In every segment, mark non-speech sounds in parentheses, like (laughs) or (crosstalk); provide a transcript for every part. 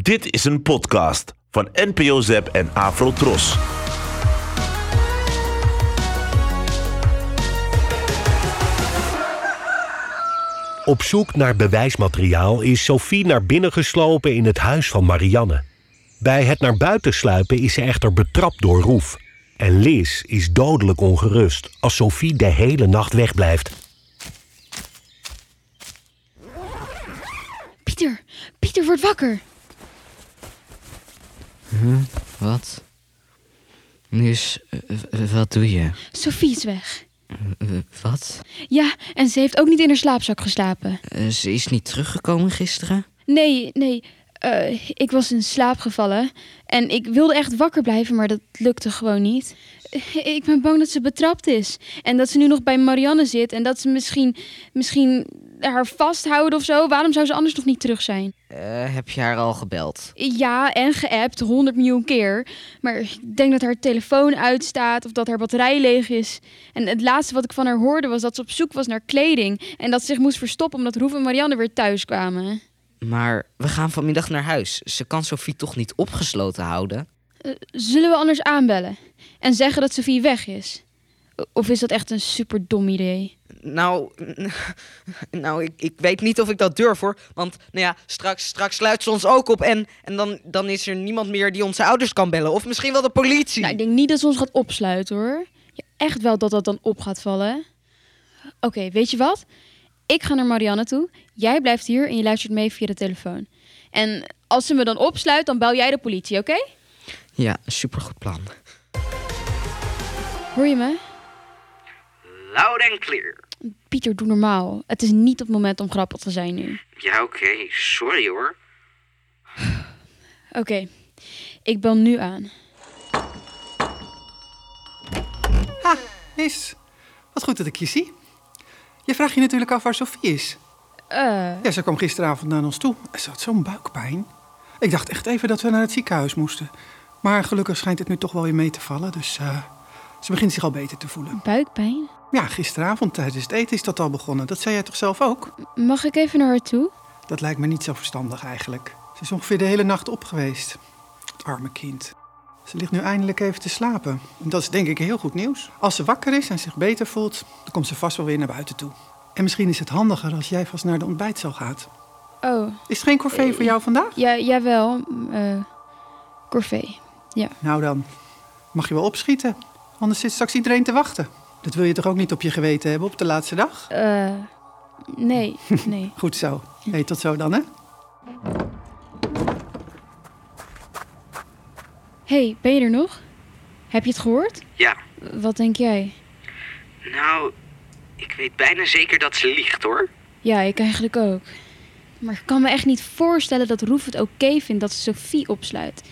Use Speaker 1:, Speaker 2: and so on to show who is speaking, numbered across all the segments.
Speaker 1: Dit is een podcast van NPO Zep en Afro Tros.
Speaker 2: Op zoek naar bewijsmateriaal is Sophie naar binnen geslopen in het huis van Marianne. Bij het naar buiten sluipen is ze echter betrapt door Roef. En Liz is dodelijk ongerust als Sophie de hele nacht wegblijft.
Speaker 3: Pieter, Pieter wordt wakker.
Speaker 4: Wat? Dus, eh, w- wat doe je?
Speaker 3: Sophie is weg.
Speaker 4: W- Wat?
Speaker 3: Ja, en ze heeft ook niet in haar slaapzak geslapen.
Speaker 4: Eh, Ze is niet teruggekomen gisteren?
Speaker 3: Nee, nee. eh, ik was in slaap gevallen. En ik wilde echt wakker blijven, maar dat lukte gewoon niet. Eh, Ik ben bang dat ze betrapt is. En dat ze nu nog bij Marianne zit. En dat ze misschien, misschien haar vasthouden of zo. Waarom zou ze anders nog niet terug zijn?
Speaker 4: Eh, heb je haar al gebeld?
Speaker 3: Ja, en geappt, honderd miljoen keer. Maar ik denk dat haar telefoon uitstaat of dat haar batterij leeg is. En het laatste wat ik van haar hoorde was dat ze op zoek was naar kleding. En dat ze zich moest verstoppen omdat Roef en Marianne weer thuis kwamen.
Speaker 4: Maar we gaan vanmiddag naar huis. Ze kan Sophie toch niet opgesloten houden?
Speaker 3: Eh, Zullen we anders aanbellen? En zeggen dat Sophie weg is? Of is dat echt een super dom idee?
Speaker 4: Nou, (laughs) nou ik, ik weet niet of ik dat durf hoor. Want nou ja, straks, straks sluit ze ons ook op. En, en dan, dan is er niemand meer die onze ouders kan bellen. Of misschien wel de politie.
Speaker 3: Nou, ik denk niet dat ze ons gaat opsluiten hoor. Ja, echt wel dat dat dan op gaat vallen. Oké, weet je wat? Ik ga naar Marianne toe. Jij blijft hier en je luistert mee via de telefoon. En als ze me dan opsluit, dan bel jij de politie, oké?
Speaker 4: Ja, supergoed plan.
Speaker 3: Hoor je me?
Speaker 5: Loud en clear.
Speaker 3: Pieter, doe normaal. Het is niet het moment om grappig te zijn nu.
Speaker 5: Ja, oké. Sorry hoor.
Speaker 3: Oké, ik bel nu aan.
Speaker 6: Ha, is. Wat goed dat ik je zie. Je vraagt je natuurlijk af waar Sophie is.
Speaker 3: Eh,
Speaker 6: Ja, ze kwam gisteravond naar ons toe. Ze had zo'n buikpijn. Ik dacht echt even dat we naar het ziekenhuis moesten. Maar gelukkig schijnt het nu toch wel weer mee te vallen. Dus eh, ze begint zich al beter te voelen.
Speaker 3: buikpijn?
Speaker 6: Ja, gisteravond tijdens het eten is dat al begonnen. Dat zei jij toch zelf ook?
Speaker 3: Mag ik even naar haar toe?
Speaker 6: Dat lijkt me niet zo verstandig eigenlijk. Ze is ongeveer de hele nacht op geweest. Het arme kind. Ze ligt nu eindelijk even te slapen. En dat is denk ik heel goed nieuws. Als ze wakker is en zich beter voelt, dan komt ze vast wel weer naar buiten toe. En misschien is het handiger als jij vast naar de ontbijtzaal gaat.
Speaker 3: Oh,
Speaker 6: Is het geen corvée voor jou vandaag?
Speaker 3: ja, jawel. eh corvée.
Speaker 6: Nou dan, mag je wel opschieten. Anders zit straks iedereen te wachten. Dat wil je toch ook niet op je geweten hebben op de laatste dag?
Speaker 3: Eh, nee, nee.
Speaker 6: Goed zo. hey, tot zo dan, hè?
Speaker 3: hey, ben je er nog? Heb je het gehoord?
Speaker 5: Ja.
Speaker 3: Wat denk jij?
Speaker 5: Nou, ik weet bijna zeker dat ze liegt hoor.
Speaker 3: Ja, ik eigenlijk ook. Maar ik kan me echt niet voorstellen dat Roef het oké vindt dat ze Sophie opsluit.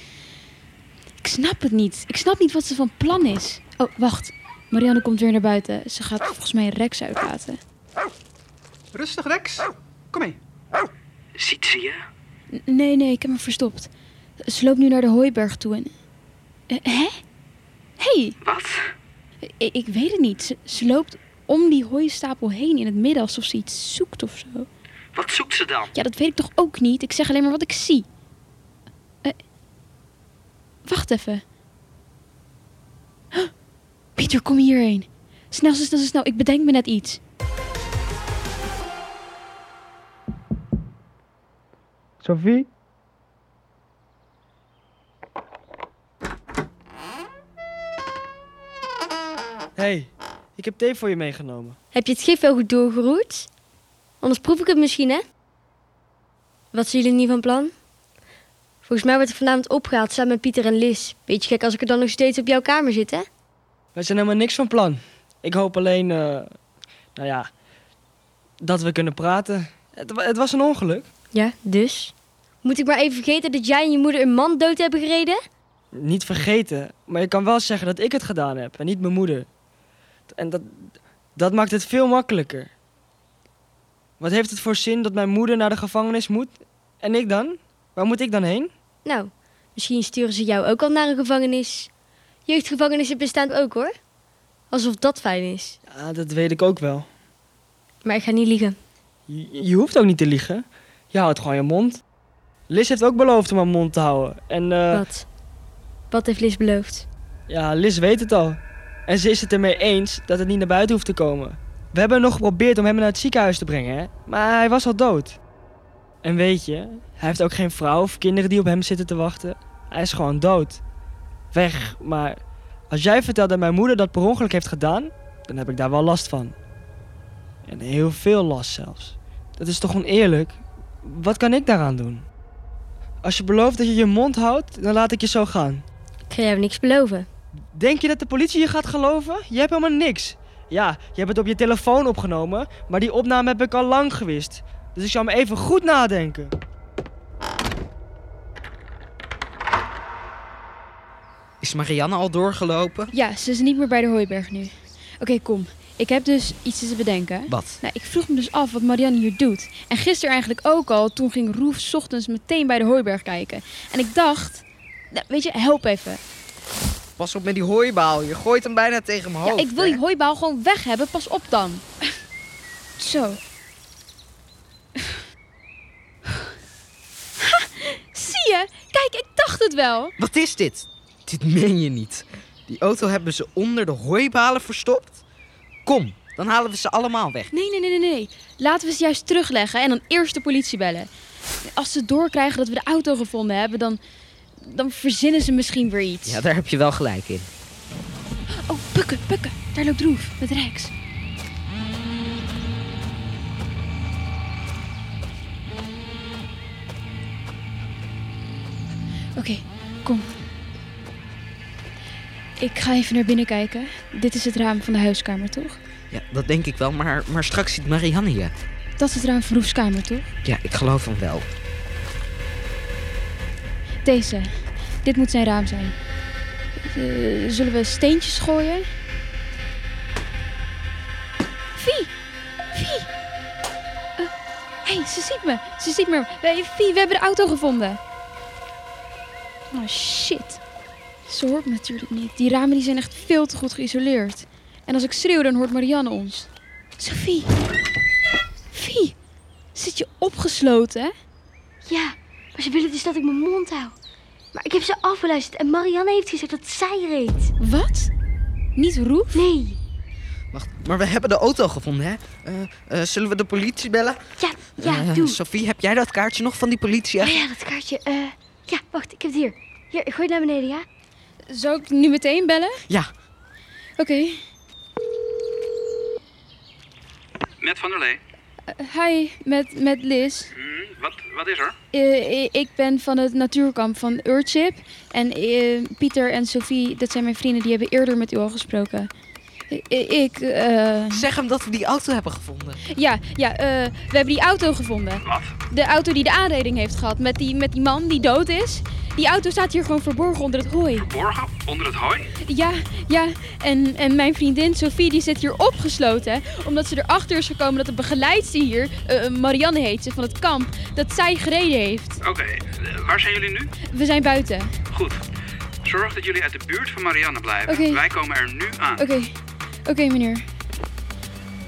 Speaker 3: Ik snap het niet. Ik snap niet wat ze van plan is. Oh, wacht. Marianne komt weer naar buiten. Ze gaat volgens mij Rex uitlaten.
Speaker 6: Rustig, Rex. Kom mee.
Speaker 5: Ziet ze je?
Speaker 3: N- Nee, nee, ik heb me verstopt. Ze loopt nu naar de hooiberg toe en... Eh, hè? hey,
Speaker 5: Wat?
Speaker 3: I- ik weet het niet. Ze, ze loopt om die hooistapel heen in het midden alsof ze iets zoekt of zo.
Speaker 5: Wat zoekt ze dan?
Speaker 3: Ja, dat weet ik toch ook niet. Ik zeg alleen maar wat ik zie. Eh, wacht even. Huh, Pieter, kom hierheen. Snel, snel, snel, snel. Ik bedenk me net iets.
Speaker 7: Sophie? hey, ik heb thee voor je meegenomen.
Speaker 8: Heb je het gif wel goed doorgeroerd? Anders proef ik het misschien, hè? Wat zijn jullie niet van plan? Volgens mij wordt ik vanavond opgehaald samen met Pieter en Liz. Beetje gek als ik er dan nog steeds op jouw kamer zit, hè?
Speaker 7: Wij zijn helemaal niks van plan. Ik hoop alleen, eh, nou ja, dat we kunnen praten. Het, wa- het was een ongeluk.
Speaker 8: Ja, dus? Moet ik maar even vergeten dat jij en je moeder een man dood hebben gereden?
Speaker 7: Niet vergeten, maar je kan wel zeggen dat ik het gedaan heb en niet mijn moeder. En dat, dat maakt het veel makkelijker. Wat heeft het voor zin dat mijn moeder naar de gevangenis moet? En ik dan? Waar moet ik dan heen?
Speaker 8: Nou, misschien sturen ze jou ook al naar een gevangenis. Jeugdgevangenissen bestaan ook, hoor. Alsof dat fijn is.
Speaker 7: Ja, dat weet ik ook wel.
Speaker 8: Maar ik ga niet liegen.
Speaker 7: Je, je hoeft ook niet te liegen. Je houdt gewoon je mond. Liz heeft ook beloofd om haar mond te houden. En eh,
Speaker 8: Wat? Wat heeft Liz beloofd?
Speaker 7: ja, Liz weet het al. En ze is het ermee eens dat het niet naar buiten hoeft te komen. We hebben nog geprobeerd om hem naar het ziekenhuis te brengen, hè? maar hij was al dood. En weet je, hij heeft ook geen vrouw of kinderen die op hem zitten te wachten. Hij is gewoon dood. Weg, maar als jij vertelt dat mijn moeder dat per ongeluk heeft gedaan, dan heb ik daar wel last van. En heel veel last zelfs. Dat is toch oneerlijk? Wat kan ik daaraan doen? Als je belooft dat je je mond houdt, dan laat ik je zo gaan.
Speaker 8: Ik ga jou niks beloven.
Speaker 7: Denk je dat de politie je gaat geloven? Je hebt helemaal niks. Ja, je hebt het op je telefoon opgenomen, maar die opname heb ik al lang gewist. Dus ik zou me even goed nadenken.
Speaker 4: Is Marianne al doorgelopen?
Speaker 3: Ja, ze is niet meer bij de hooiberg nu. Oké, kom. Ik heb dus iets te bedenken.
Speaker 4: Wat?
Speaker 3: Nou, ik vroeg me dus af wat Marianne hier doet. En gisteren eigenlijk ook al, toen ging Roef 's ochtends meteen bij de hooiberg kijken. En ik dacht, nou, weet je, help even.
Speaker 4: Pas op met die hooibaal. Je gooit hem bijna tegen mijn
Speaker 3: Ja,
Speaker 4: hoofd.
Speaker 3: ik wil
Speaker 4: Oh, hè?
Speaker 3: die hooibaal gewoon weg hebben, pas op dan. Zo. Ha, Zie je? Kijk, ik dacht het wel.
Speaker 4: Wat is dit? Dit meen je niet. Die auto hebben ze onder de hooibalen verstopt? Kom, dan halen we ze allemaal weg.
Speaker 3: Nee, nee, nee, nee, nee. Laten we ze juist terugleggen en dan eerst de politie bellen. Als ze doorkrijgen dat we de auto gevonden hebben, dan, dan verzinnen ze misschien weer iets.
Speaker 4: Ja, daar heb je wel gelijk in.
Speaker 3: Oh, pukken, pukken. Daar loopt Roef met Rex. Oké, kom. Ik ga even naar binnen kijken. Dit is het raam van de huiskamer, toch?
Speaker 4: Ja, dat denk ik wel, maar, maar straks ziet Marianne je.
Speaker 3: Dat is het raam van Roef's kamer, toch?
Speaker 4: Ja, ik geloof hem wel.
Speaker 3: Deze. Dit moet zijn raam zijn. Eh, zullen we steentjes gooien? Vie! Vie! Eh, Hé, hey, ze ziet me. Ze ziet me. Hey, Vie, we hebben de auto gevonden. Oh, shit. Ze hoort me natuurlijk niet. Die ramen die zijn echt veel te goed geïsoleerd. En als ik schreeuw, dan hoort Marianne ons. Sophie! Vie! Zit je opgesloten?
Speaker 8: Ja, maar ze willen dus dat ik mijn mond hou. Maar ik heb ze afgeluisterd en Marianne heeft gezegd dat zij reed.
Speaker 3: Wat? Niet Roef?
Speaker 8: Nee.
Speaker 4: Wacht, maar we hebben de auto gevonden, hè? Eh, eh, zullen we de politie bellen?
Speaker 8: Ja, ja,
Speaker 4: Eh,
Speaker 8: doe.
Speaker 4: Sophie, heb jij dat kaartje nog van die politie?
Speaker 8: Oh ja, dat kaartje. eh, ja, wacht, ik heb het hier. Hier, ik gooi het naar beneden, ja?
Speaker 3: Zou ik nu meteen bellen?
Speaker 4: Ja,
Speaker 3: Oké.
Speaker 5: Met Van der Lee.
Speaker 3: Hi, met, met Liz.
Speaker 5: Hm, wat, wat is er?
Speaker 3: Eh, eh, ik ben van het natuurkamp van Urchip. En eh, Pieter en Sophie, dat zijn mijn vrienden, die hebben eerder met u al gesproken. Eh, eh, ik, eh,
Speaker 4: zeg hem dat we die auto hebben gevonden.
Speaker 3: ja, ja, eh, we hebben die auto gevonden.
Speaker 5: Wat?
Speaker 3: De auto die de aanrijding heeft gehad met die, met die man die dood is. Die auto staat hier gewoon verborgen onder het hooi.
Speaker 5: Borgen? Onder het hooi?
Speaker 3: Ja, ja. En, en mijn vriendin Sophie die zit hier opgesloten. Omdat ze erachter is gekomen dat de begeleidster hier, eh, Marianne heet ze, van het kamp, dat zij gereden heeft.
Speaker 5: Oké, eh, waar zijn jullie nu?
Speaker 3: We zijn buiten.
Speaker 5: Goed. Zorg dat jullie uit de buurt van Marianne blijven.
Speaker 3: Oké.
Speaker 5: Wij komen er nu aan.
Speaker 3: Oké,
Speaker 9: Eh,
Speaker 3: oké meneer.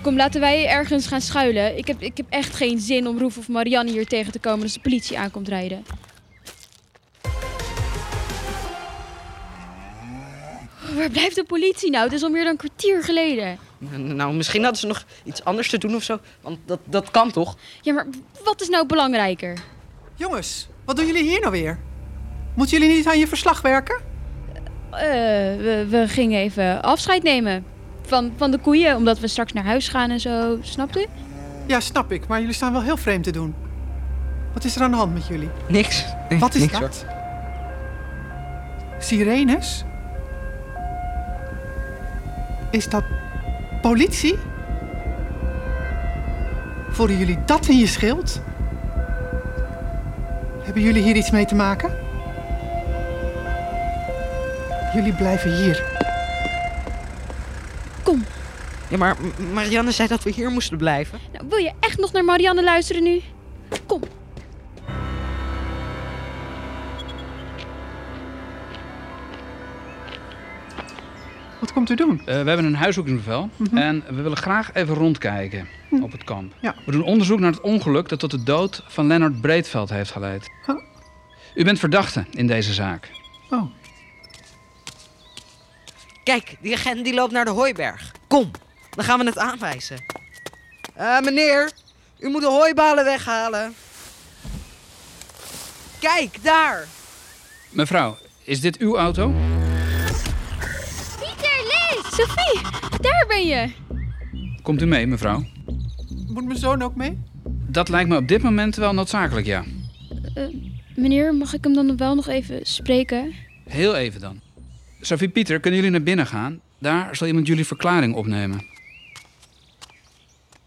Speaker 3: Kom, laten wij ergens gaan schuilen. Ik heb, ik heb echt geen zin om Roef of Marianne hier tegen te komen als de politie aankomt rijden. Waar blijft de politie nou? Het is al meer dan een kwartier geleden.
Speaker 4: N- Nou, misschien hadden ze nog iets anders te doen of zo. Want dat, dat kan toch?
Speaker 3: Ja, maar wat is nou belangrijker?
Speaker 6: Jongens, wat doen jullie hier nou weer? Moeten jullie niet aan je verslag werken?
Speaker 3: Eh, we, we gingen even afscheid nemen van, van de koeien, omdat we straks naar huis gaan en zo, snapt u?
Speaker 6: Ja, snap ik, maar jullie staan wel heel vreemd te doen. Wat is er aan de hand met jullie?
Speaker 4: Niks. Nee,
Speaker 6: Wat is
Speaker 4: niks, hoor.
Speaker 6: dat? Sirenes? Is dat politie? Voelen jullie dat in je schild? Hebben jullie hier iets mee te maken? Jullie blijven hier.
Speaker 3: Kom,
Speaker 4: Ja, maar M- Marianne zei dat we hier moesten blijven.
Speaker 3: nou, wil je echt nog naar Marianne luisteren nu? Kom.
Speaker 6: Wat komt u doen?
Speaker 9: Eh, we hebben een huiszoekingsbevel en we willen graag even rondkijken op het kamp.
Speaker 6: Ja.
Speaker 9: We doen onderzoek naar het ongeluk dat tot de dood van Lennart Breedveld heeft geleid.
Speaker 6: Oh,
Speaker 9: U bent verdachte in deze zaak.
Speaker 6: Oh,
Speaker 4: Kijk, die agent die loopt naar de hooiberg. Kom, dan gaan we het aanwijzen. Eh, meneer, u moet de hooibalen weghalen. Kijk, daar.
Speaker 9: Mevrouw, is dit uw auto?
Speaker 8: Pieter, Lies!
Speaker 3: Sophie, daar ben je.
Speaker 9: Komt u mee, mevrouw?
Speaker 6: moet mijn zoon ook mee?
Speaker 9: Dat lijkt me op dit moment wel noodzakelijk, ja.
Speaker 3: Meneer, mag ik hem dan wel nog even spreken?
Speaker 9: Heel even dan. Sophie Pieter, kunnen jullie naar binnen gaan? Daar zal iemand jullie verklaring opnemen.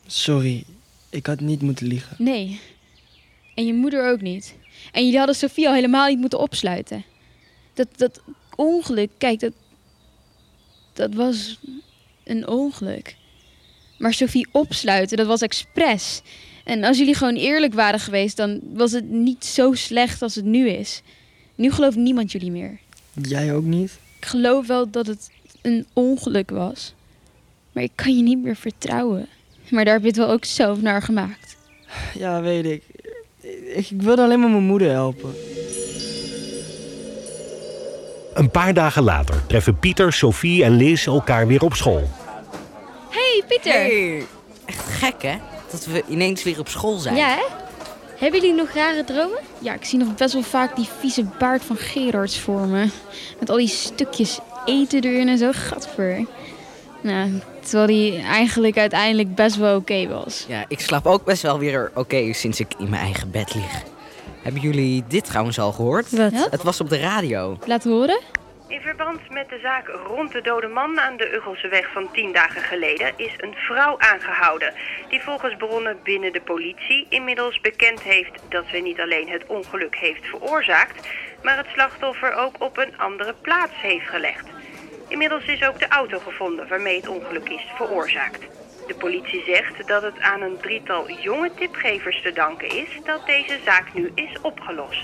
Speaker 7: Sorry, ik had niet moeten liegen.
Speaker 3: Nee. En je moeder ook niet. En jullie hadden Sophie al helemaal niet moeten opsluiten. Dat, dat ongeluk, kijk, dat, dat was een ongeluk. Maar Sophie opsluiten, dat was expres. En als jullie gewoon eerlijk waren geweest, dan was het niet zo slecht als het nu is. Nu gelooft niemand jullie meer.
Speaker 7: Jij ook niet?
Speaker 3: Ik geloof wel dat het een ongeluk was. Maar ik kan je niet meer vertrouwen. Maar daar heb je het wel ook zelf naar gemaakt.
Speaker 7: Ja, weet ik. Ik, ik wilde alleen maar mijn moeder helpen.
Speaker 2: Een paar dagen later treffen Pieter, Sophie en Liz elkaar weer op school.
Speaker 3: hey, Pieter!
Speaker 4: Hey. Echt gek, hè? Dat we ineens weer op school zijn.
Speaker 8: Ja, hè? Hebben jullie nog rare dromen?
Speaker 3: Ja, ik zie nog best wel vaak die vieze baard van Gerards voor me. Met al die stukjes eten erin en zo. Gadver. Nou, terwijl die eigenlijk uiteindelijk best wel oké was.
Speaker 4: Ja, ik slaap ook best wel weer oké sinds ik in mijn eigen bed lig. Hebben jullie dit trouwens al gehoord?
Speaker 8: Wat?
Speaker 3: Ja?
Speaker 4: Het was op de radio.
Speaker 3: Laat horen.
Speaker 10: In verband met de zaak rond de dode man aan de Uggelseweg van tien dagen geleden is een vrouw aangehouden. Die volgens bronnen binnen de politie inmiddels bekend heeft dat ze niet alleen het ongeluk heeft veroorzaakt, maar het slachtoffer ook op een andere plaats heeft gelegd. Inmiddels is ook de auto gevonden waarmee het ongeluk is veroorzaakt. De politie zegt dat het aan een drietal jonge tipgevers te danken is dat deze zaak nu is opgelost.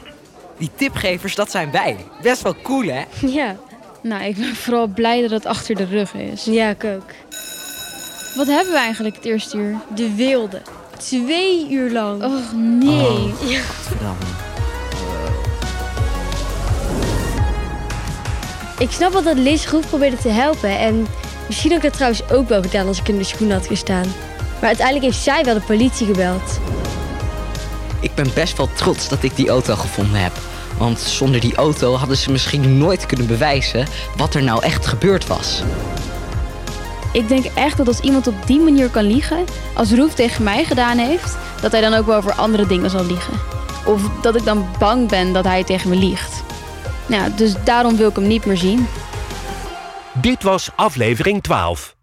Speaker 4: Die tipgevers, dat zijn wij. Best wel cool, hè?
Speaker 8: Ja.
Speaker 3: Nou, ik ben vooral blij dat het achter de rug is.
Speaker 8: Ja, ik ook.
Speaker 3: Wat hebben we eigenlijk het eerste uur?
Speaker 8: De wilde. Twee uur lang. Oh,
Speaker 3: Och nee.
Speaker 8: Ik snap wel dat Liz Groef probeerde te helpen. En misschien had ik het trouwens ook wel gedaan als ik in de schoen had gestaan. Maar uiteindelijk heeft zij wel de politie gebeld.
Speaker 4: Ik ben best wel trots dat ik die auto gevonden heb. Want zonder die auto hadden ze misschien nooit kunnen bewijzen wat er nou echt gebeurd was.
Speaker 3: Ik denk echt dat als iemand op die manier kan liegen, als Roef tegen mij gedaan heeft, dat hij dan ook wel over andere dingen zal liegen. Of dat ik dan bang ben dat hij tegen me liegt. Nou, dus daarom wil ik hem niet meer zien.
Speaker 2: Dit was aflevering 12.